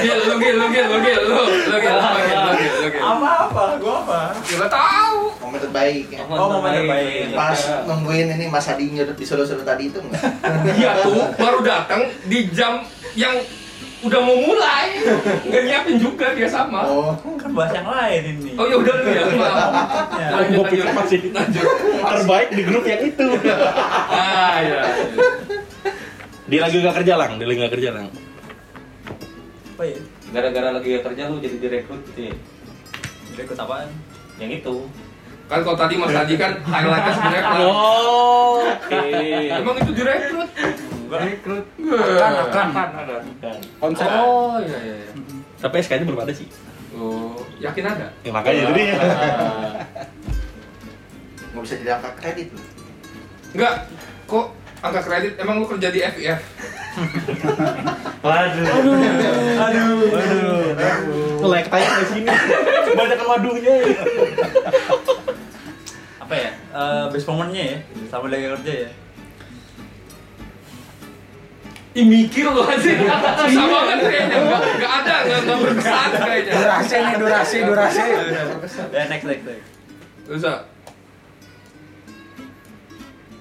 A: Gil, lu gil, lu gil, lu gil, lu, lu gil, lu gil, lu gil, lu gil.
F: Apa-apa, gua apa?
A: Ya nggak tahu.
E: Momen terbaik ya.
F: Oh, momen terbaik.
E: Pas nungguin ini Mas Adi nyodot di solo-solo tadi itu enggak?
A: Dia tuh baru datang di jam yang udah mau mulai. Nggak nyiapin juga dia sama.
E: Oh,
C: Kan bahas yang lain ini.
A: Oh ya udah lu ya. maaf. Lanjut,
D: Gue pikir
A: lanjut.
D: masih terbaik di grup yang itu.
A: Ah ya.
D: dia lagi gak kerja lang, dia lagi gak kerja lang.
C: Apa ya?
G: Gara-gara lagi kerja lu jadi direkrut gitu ya.
C: Udah ikut apaan?
G: Yang itu.
A: Kan kalau tadi
D: Oh.
A: Mas Adi kan highlightnya sebenarnya kan.
G: Oh. Oke.
A: Emang itu direkrut.
H: juga.
G: Rekrut.
F: Akan, akan.
H: Kan ada.
F: Konsep.
A: Oh iya iya. iya.
D: Tapi SK-nya belum ada sih.
A: Oh, yakin ada?
D: Ya, makanya jadi ya.
E: nggak bisa jadi angka kredit lu.
A: Enggak. Kok angka kredit emang lu kerja di FIF?
D: Waduh. Aduh. Aduh. Aduh. Lek tayang ke
C: [LAUGHS]
D: sini. Banyak waduhnya. ya.
C: apa ya Eh best moment-nya ya sama lagi kerja ya
A: Ih mikir lu sih. Susah banget kayaknya. Enggak enggak ada, enggak enggak berkesan kayaknya.
F: Durasi nih, durasi, durasi.
C: ya next next next
A: Susah.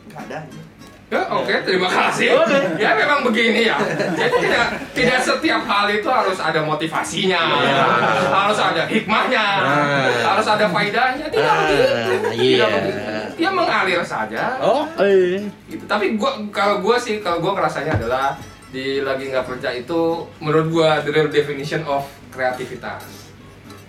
E: nggak ada anjing.
A: Ya, oke, terima kasih. Ya memang begini ya. Jadi tidak tidak setiap hal itu harus ada motivasinya,
E: Iya.
A: harus ada hikmahnya,
E: Nah.
A: harus ada faedahnya. Tidak begitu.
E: iya.
A: Tidak begitu. Dia mengalir saja.
E: Oh, eh.
A: Gitu. Tapi gua kalau gua sih kalau gua ngerasanya adalah di lagi nggak kerja itu menurut gua the real definition of kreativitas.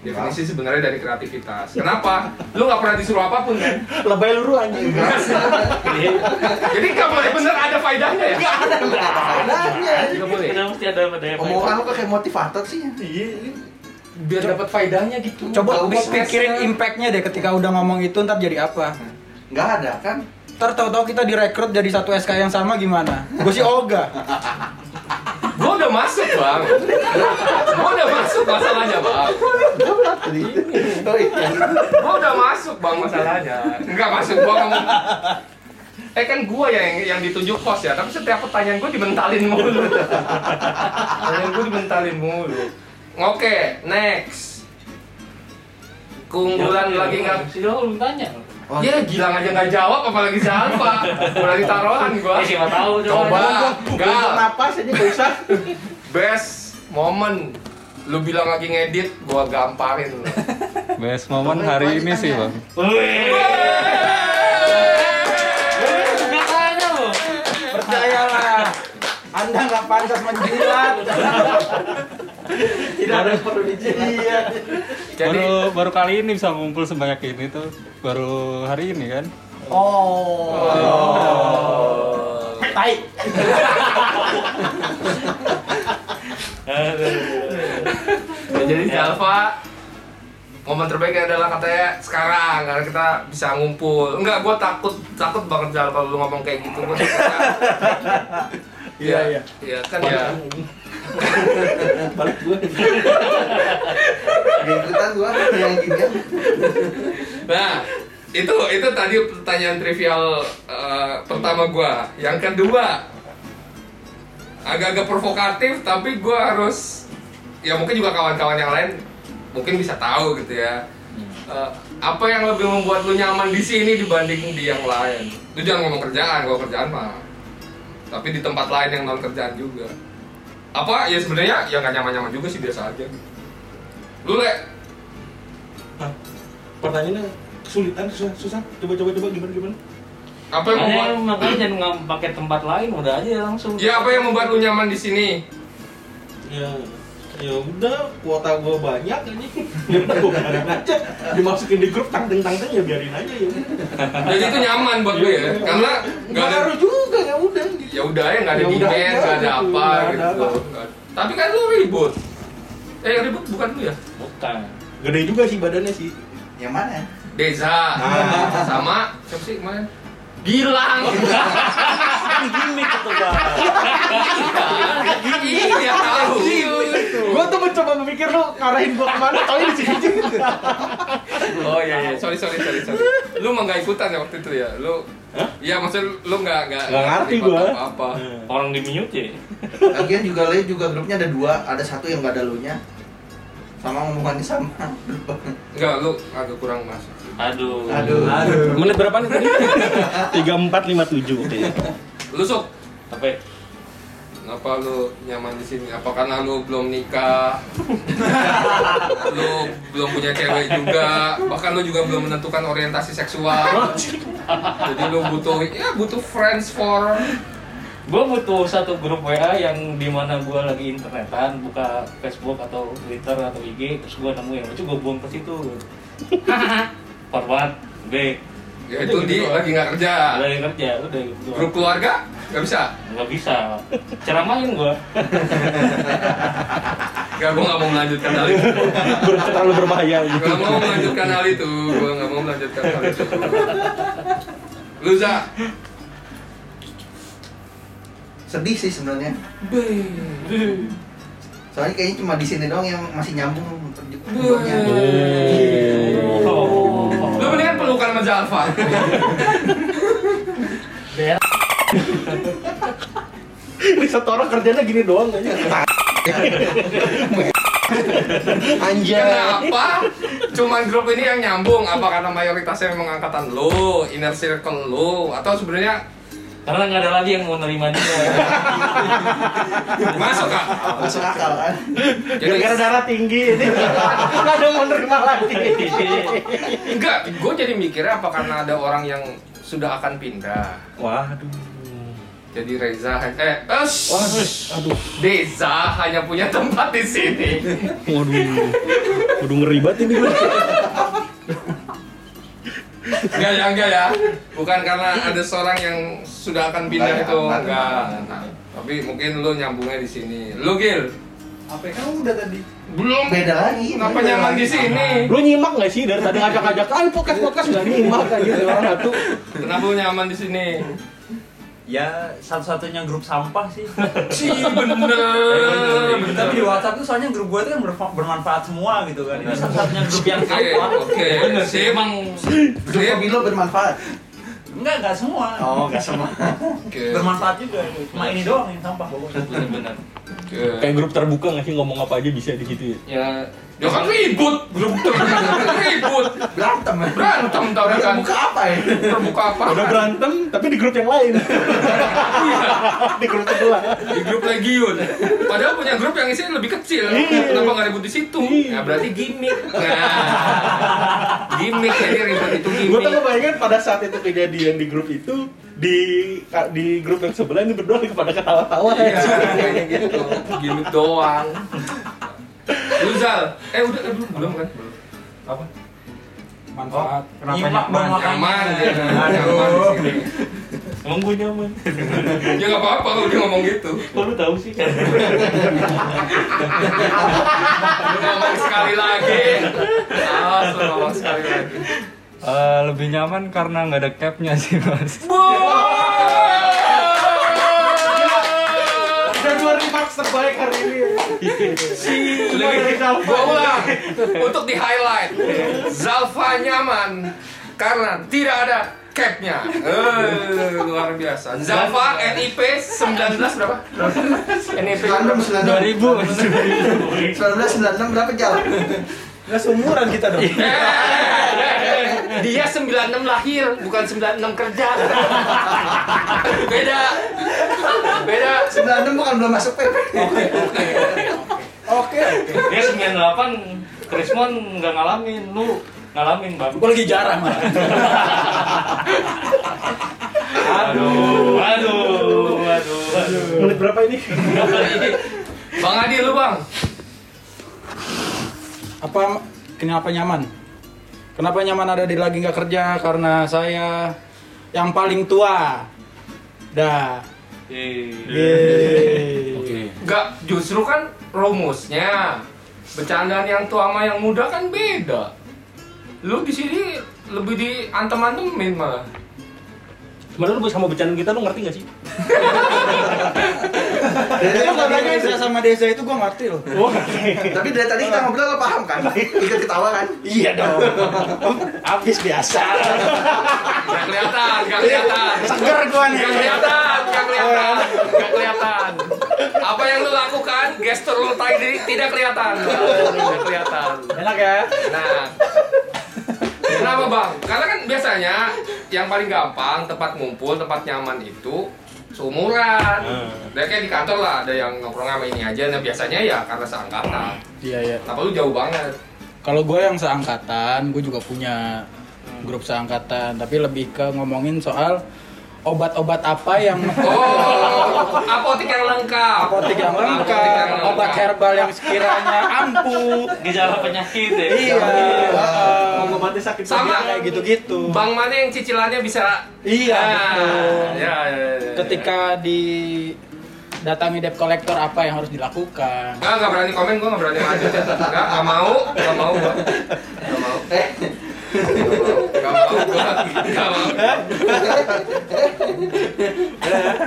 A: Definisi sebenarnya dari kreativitas. Kenapa? Lu nggak pernah disuruh apapun kan?
D: Lebay luru anjing.
A: Jadi nggak boleh bener ada faedahnya ya?
E: nggak ada nggak ada faedahnya
A: Nggak boleh.
G: Kenapa mesti ada pada yang
E: omongan lu kayak motivator sih ya
A: biar dapat faedahnya gitu.
F: Coba
A: Tahu
F: bis- pikirin impact-nya deh ketika udah ngomong itu ntar jadi apa.
E: nggak ada kan
F: Ntar tahu-tahu kita direkrut jadi satu SK yang sama gimana? Gue sih Olga.
A: Gua udah masuk, Bang. Gua udah masuk masalahnya, Bang.
E: oh iya
A: Gua udah masuk, Bang, masalahnya. Enggak masuk gua ngomong. Eh kan gua yang yang ditunjuk host ya, tapi setiap pertanyaan gua dimentalin mulu. Pertanyaan gua dimentalin mulu. Oke, next. Keunggulan lagi nggak
G: Si lo belum tanya.
E: Oh,
A: Ya Gilang aja nggak jawab apalagi si Alfa. Udah ditaruhan gua.
G: Eh, siapa tahu
A: Coba. Gal.
E: napas aja nggak usah
A: Best moment lu bilang lagi ngedit, gua
F: [LAUGHS]
A: gamparin lu.
H: Best moment hari ini sih, Bang.
G: Enggak tanya lo.
F: Percayalah. Anda nggak pantas menjilat.
E: tidak ada yang perlu dijilat iya
A: Jadi
H: Baru baru kali ini bisa ngumpul sebanyak ini tuh. Baru hari ini kan.
A: ya, jadi si Alfa momen terbaiknya adalah katanya sekarang karena kita bisa ngumpul. Enggak, gua takut takut banget Jal kalau lu ngomong kayak gitu.
F: [LAUGHS]
A: Gua takutnya.
F: Iya, iya.
A: Iya kan ya.
E: kita gua yang gini
A: Nah, itu itu tadi pertanyaan trivial eh, pertama gua. Yang kedua agak-agak provokatif tapi gua harus ya mungkin juga kawan-kawan yang lain mungkin bisa tahu gitu ya. Eh, apa yang lebih membuat lu nyaman di sini dibanding di yang lain? Lu jangan ngomong kerjaan, gua kerjaan mah. Tapi di tempat lain yang non kerjaan juga. Apa ya sebenarnya ya nggak nyaman-nyaman juga sih biasa aja. Lu lek
D: Pertanyaannya kesulitan susah susah. Coba coba coba gimana gimana.
A: apa yang membuat
G: Makanya makanya jangan ngam- pakai tempat lain udah aja langsung.
A: Ya apa yang membuat lu nyaman di sini?
D: Ya ya udah kuota gua banyak ini ya udah gua biarin aja [LAUGHS] dimasukin di grup tang teng tang teng ya biarin aja ya
A: Jadi itu nyaman buat lu
D: Iya.
A: ya, karena nggak
D: nggak
A: ada
D: ngaruh juga ya udah gitu
A: ya udah ya nggak ada
D: Ya udah
A: demand,
D: aja
A: nggak ada
D: gitu,
A: apa
D: nggak ada
A: gitu. Tapi kan lu ribut. Eh yang ribut bukan lu ya?
G: Bukan.
D: gede juga sih badannya sih
E: yang mana
A: Deza
D: Nah.
A: sama siapa sih kemarin? Gilang.
C: Kan gimmick tuh bang
A: Iya tahu.
D: gua tuh mencoba memikir lu ngarahin gua kemana taunya di sini juga
A: Oh iya iya, sorry sorry sorry sorry. Lu mah nggak ikutan ya waktu itu ya, lu? Iya maksudnya lu nggak nggak
D: Nggak ngerti gua. Iya.
A: apa.
G: Orang di mute ya.
E: lagian juga lain juga grupnya ada dua ada satu yang nggak ada lu nya sama ngomongannya sama
A: Nggak lu agak kurang masuk.
G: Aduh.
E: aduh
D: menit berapa nih tadi tiga empat lima tujuh
A: Lu sok
G: Apa? ya?
A: Kenapa lu nyaman di sini? Apa karena lu belum nikah? lu belum punya cewek juga, bahkan lu juga belum menentukan orientasi seksual. Jadi lu butuh ya butuh friends for
G: Gue butuh satu grup WA yang dimana gue lagi internetan, buka Facebook atau Twitter atau IG, terus gue nemu yang lucu, gue buang ke situ. Forward, back.
A: Ya itu di lagi nggak kerja.
D: Udah yang kerja, udah gitu.
A: Grup keluarga nggak bisa.
D: Nggak bisa. Ceramahin gua.
A: Gak, gue nggak mau melanjutkan hal itu.
D: Grup terlalu berbahaya gitu.
A: Gak mau melanjutkan hal itu. Gue nggak mau melanjutkan hal itu. Luza,
E: Sedih sih sebenarnya. Soalnya kayaknya cuma di sini doang yang masih nyambung perjuangannya.
A: lu mendingan pelukan sama Zalfa.
D: Ini satu orang kerjanya gini doang kayaknya.
E: Iya.
D: Anjay.
A: Kenapa? Cuman grup ini yang nyambung. Apa karena mayoritasnya memang angkatan lu, inner circle lu, atau sebenarnya
G: Karena nggak ada lagi yang mau nerima dia.
A: masuk kak?
E: Masuk akal kan?
D: Gara-gara darah tinggi ini. Nggak ada yang mau nerima lagi.
A: Enggak, gue jadi mikirnya apa karena ada orang yang sudah akan pindah.
H: Waduh.
A: Jadi Reza eh es, Deza hanya punya tempat di sini.
H: Waduh.
D: Udah ngeri banget ini gua.
A: Enggak ya, enggak ya. Bukan karena ada seorang yang sudah akan pindah
E: Enggak ya,
A: itu
E: enggak,
A: enggak.
E: enggak.
A: Nah, tapi mungkin lu nyambungnya di sini. Lu Gil,
E: Apa kan udah tadi?
A: belum
E: Beda lagi.
A: Kenapa
E: beda
A: nyaman
E: lagi.
A: di sini?
D: Lu nyimak nggak sih dari tadi ngajak-ngajak kan podcast-podcast nggak nyimak kan gitu orang satu.
A: Kenapa lu nyaman di sini?
C: Ya satu-satunya grup sampah sih.
A: Ci, bener. bener.
C: Tapi di WhatsApp tuh soalnya grup gue tuh kan berfa- bermanfaat semua gitu kan. Ini satu-satunya grup yang
A: Oke,
C: sampah.
A: oke. Sip,
G: Emang
A: sip.
E: Grup Pemilu bermanfaat.
C: Enggak, enggak semua.
E: Oh, enggak semua.
A: Oke,
C: Bermanfaat juga. Cuma ini doang yang sampah pokoknya.
G: benar-benar.
A: oke.
D: Kayak grup terbuka nggak sih ngomong apa aja bisa di situ ya.
G: Ya
A: Ya kan ribut, grup tuh ribut.
E: Berantem. ya?
A: Berantem tau
E: Berantem
A: kan.
E: Buka apa ya?
A: Terbuka apa? Iya,
D: Udah berantem tapi di grup yang lain. [LAUGHS] di grup sebelah.
A: di grup Legion. Padahal punya grup yang isinya lebih kecil. Kenapa nggak ribut di situ? Ya berarti gimmick. Nah, gimmick jadi ribut itu
D: Gue tuh
A: gimmick. Iya,
D: kebayangkan pada saat itu kejadian di grup itu di di grup yang sebelah ini berdua lagi pada ketawa-tawa.
A: Iya, kayaknya gitu. Gimmick doang. Lu Zal, eh udah eh, belum belum kan?
F: manfaat
C: Nyimak
A: Nyaman,
C: dong makanya.
A: dia nyaman di sini.
D: Emang gue nyaman.
A: Ya nggak apa-apa kalau dia ngomong gitu.
D: Kok lu tahu sih kan?
A: Lu ngomong sekali lagi. Awas, lu ngomong sekali lagi.
H: Eh, lebih nyaman karena nggak ada capnya sih mas.
D: Dan luar remarks terbaik hari ini.
A: Lebih gua ulang untuk di highlight. Zalfa nyaman karena tidak ada capnya. Eh, luar biasa. Zalfa NIP 19 berapa? NIP
H: 2000.
E: 96, 96. 1996 berapa jalan?
F: nggak seumuran kita dong
A: Eh, eh, eh. Dia 96 lahir, bukan 96 kerja. Beda. Beda.
E: 96 bukan belum masuk PP.
F: oke
G: dia 98 Krismon nggak ngalamin lu ngalamin bang
F: gue lagi jarang lah
G: aduh aduh aduh aduh
D: Menit berapa ini?
A: Bang Adi lu, Bang.
F: apa kenapa nyaman kenapa nyaman ada di lagi nggak kerja karena saya yang paling tua dah Iya. Yeay.
A: Enggak, justru kan rumusnya bercandaan yang tua sama yang muda kan beda. Lu di sini lebih di antem-antemin malah.
D: Sebenernya lu sama bercandaan kita lu ngerti gak sih?
E: Dari
F: Jadi
E: tadi
F: kalau
E: kita-
F: desa sama desa itu gue ngerti loh.
E: Tapi dari tadi kita ngobrol lo paham kan? Ikut ketawa kan?
F: Iya dong. Habis biasa.
A: Gak kelihatan, gak kelihatan.
F: Seger gue nih.
A: Gak kelihatan, gak kelihatan, gak kelihatan. Apa yang lu lakukan, gestur lu tadi tidak kelihatan. Tidak kelihatan.
F: Enak ya?
A: Nah, kenapa bang? Karena kan biasanya yang paling gampang tempat ngumpul, tempat nyaman itu seumuran. Dan kayak di kantor lah ada yang nongkrong sama ini aja. Nah biasanya ya karena seangkatan.
F: Iya iya.
A: Kenapa lu jauh banget?
F: Kalau gue yang seangkatan, gue juga punya grup seangkatan. Tapi lebih ke ngomongin soal obat-obat apa yang
A: Oh, apotek yang lengkap.
F: apotek yang
A: Apotek yang
F: lengkap,
A: lengkap.
F: obat herbal yang sekiranya ampuh.
G: gejala penyakit ya
F: Iya.
D: ngobatnya sakit
A: Sama.
D: perut, kayak gitu-gitu.
A: Bang mana yang cicilannya bisa
D: Iya,
A: Nah,
D: betul.
A: ya, ya, ya, ya.
F: Ketika di datangi debt collector apa yang harus dilakukan?
A: Enggak, enggak berani komen, gue enggak berani lanjut ya Enggak, enggak mau, enggak mau gue Enggak mau
E: Eh.
A: Enggak mau gue Enggak mau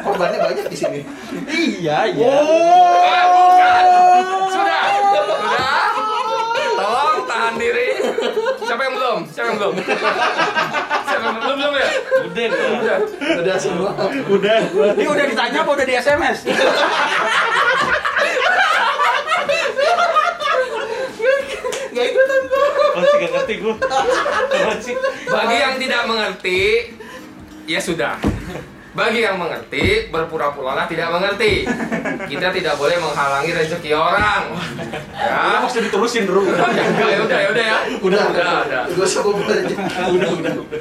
E: Korbannya banyak di sini.
F: Iya, iya.
A: Ah, bukan. Sudah, sudah Tolong tahan diri Siapa yang belum? Siapa yang belum? Siapa yang belum? Belum, belum ya?
G: Udah,
A: Udah
E: Udah semua.
D: Udah, gua
F: Ini udah ditanya apa udah di SMS?
E: Gak ikutan gua.
D: masih gak ngerti gua. Masih.
A: Bagi yang tidak mengerti, ya sudah. Bagi yang mengerti, berpura-puralah tidak mengerti. Kita tidak boleh menghalangi rezeki orang.
D: Gua
A: Ya.
D: Maksudnya diterusin dulu.
A: Ya udah, ya udah, ya udah ya.
E: Udah,
A: udah, udah.
E: Gua sama belanja.
D: Udah, udah, udah.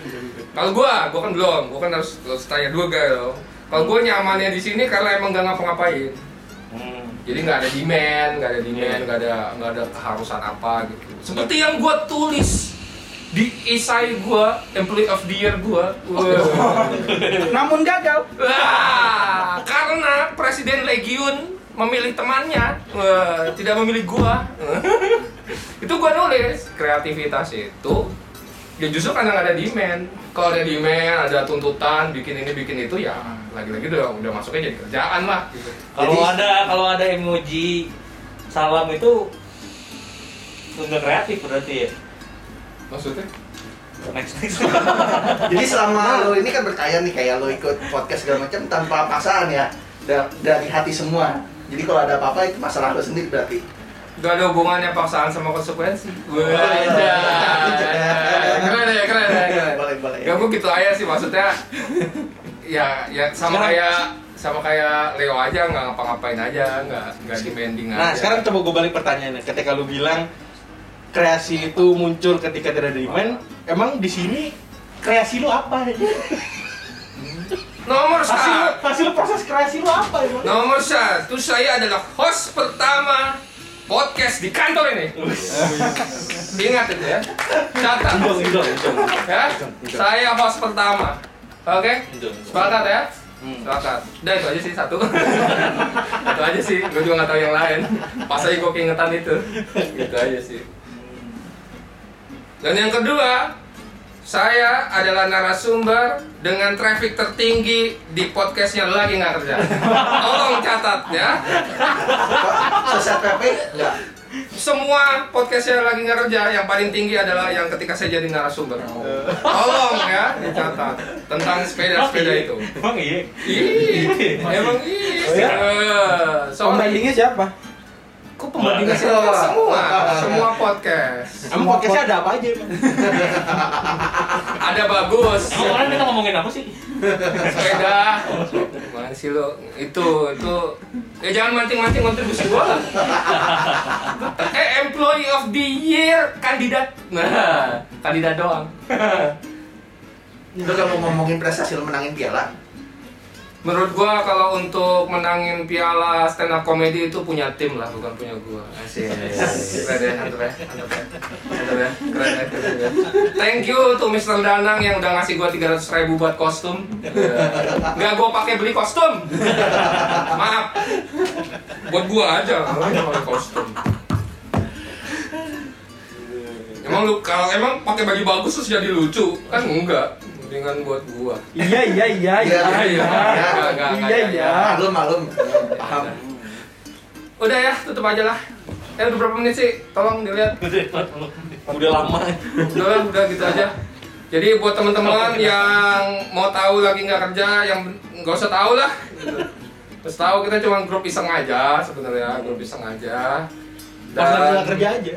A: Kalau gua, gua kan belum. Gua kan harus, harus tanya dua gayo. Kalau gua nyamannya di sini karena emang gak ngapa-ngapain. Jadi nggak ada demand, nggak ada demand, nggak ada nggak ada keharusan apa gitu. Seperti yang gua tulis di esai gua, employee of the year gua. Wah.
F: Namun gagal.
A: Wah, karena Presiden Legiun memilih temannya, wah, tidak memilih gua. [LAUGHS] itu gua nulis kreativitas itu ya justru karena nggak ada demand. Kalau ada demand, ada tuntutan, bikin ini bikin itu ya lagi-lagi udah udah masuknya jadi kerjaan lah. Gitu.
G: Kalau
E: Jadi-
G: ada kalau ada emoji salam itu nggak kreatif berarti ya.
A: Maksudnya?
G: Next next.
E: Jadi selama lo ini kan berkaya nih kayak lo ikut podcast segala macam tanpa paksaan ya. Da- dari hati semua. Jadi kalau ada apa-apa itu masalah lo sendiri berarti.
A: Gak ada hubungannya paksaan sama konsekuensi. Wah,
E: Wah.
A: keren ya, keren ya. keren.
E: Boleh, boleh.
A: Ya gue gitu aja sih maksudnya. ya, ya sama
D: Sekarang-
A: kayak sama kayak Leo aja nggak ngapa-ngapain aja, nggak nggak demanding aja.
D: Nah, sekarang coba gue balik pertanyaannya. Ketika lu bilang kreasi itu muncul ketika tidak ada demand, emang di sini kreasi lu apa?
A: nomor
D: Hasil,
A: satu,
D: hasil proses kreasi lu apa emang?
A: nomor satu saya adalah host pertama podcast di kantor ini. Ingat itu ya, catat. Ya, saya host pertama. Oke, sepakat ya? Sepakat. Udah itu aja sih satu. itu aja sih. Gue juga nggak tahu yang lain. Pas aja gue keingetan itu. Gitu aja sih. Dan yang kedua, saya adalah narasumber dengan traffic tertinggi di podcastnya lagi nggak kerja. Tolong catat ya.
E: Sosial PP enggak.
A: Semua podcastnya lagi nggak kerja yang paling tinggi adalah yang ketika saya jadi narasumber. Tolong ya dicatat tentang sepeda-sepeda itu.
G: Emang iya.
A: Ih, emang ih.
F: Oh ya?
A: Eh, Soalnya
F: Pembandingnya siapa?
A: kok pembandingnya sih? semua, semua podcast.
D: Emang podcastnya ada apa aja emang?
A: Ada bagus.
G: Emang orang kita ngomongin apa sih?
A: sepeda mana sih lo itu itu ya jangan mancing-mancing kontribusi gua lah eh employee of the year kandidat nah kandidat doang
E: Udah kamu ngomongin prestasi lo menangin piala.
A: menurut gua kalau untuk menangin piala stand up comedy itu punya tim lah bukan punya gua asik keren ya mantep ya mantep ya mantep ya keren ya keren ya. thank you to Mr. Danang yang udah ngasih gua 300 ribu buat kostum nggak gua pakai beli kostum maaf buat gua aja gua nggak pakai kostum Emang lu kalau emang pakai baju bagus terus jadi lucu kan enggak dengan buat gua.
F: Iya, iya, iya, iya.
E: Iya,
A: iya. Enggak, enggak, enggak,
F: Iya,
A: enggak.
F: iya.
E: Malum, Ah, malum. Paham.
A: Udah ya, tutup aja lah. Eh udah berapa menit sih? Tolong dilihat.
D: Udah lama.
A: Udah lah, udah gitu aja. Jadi buat teman-teman yang mau tahu lagi nggak kerja, yang nggak usah tahu lah. Gitu. Terus tahu kita cuma grup iseng aja sebenarnya, grup iseng aja.
D: Pas lagi nggak kerja aja.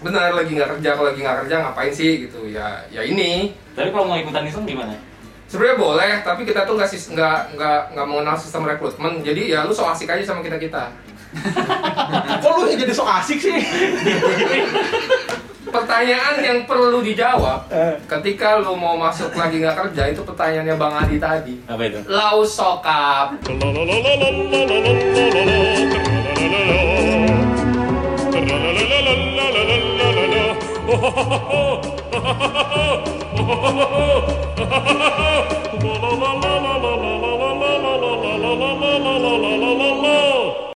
A: Benar lagi nggak kerja, kalau lagi nggak kerja ngapain sih gitu ya? Ya ini
G: Tapi kalau mau ikutan iseng gimana?
A: sebenarnya boleh, tapi kita tuh nggak sis- nggak nggak nggak mengenal sistem rekrutmen. Jadi ya lu so asik aja sama kita kita.
D: [LAUGHS] Kok lu jadi sok asik sih?
A: [LAUGHS] pertanyaan yang perlu dijawab
D: Eh.
A: ketika lu mau masuk lagi nggak kerja itu pertanyaannya bang Adi tadi
G: Apa itu?
A: lau sokap
B: La oh,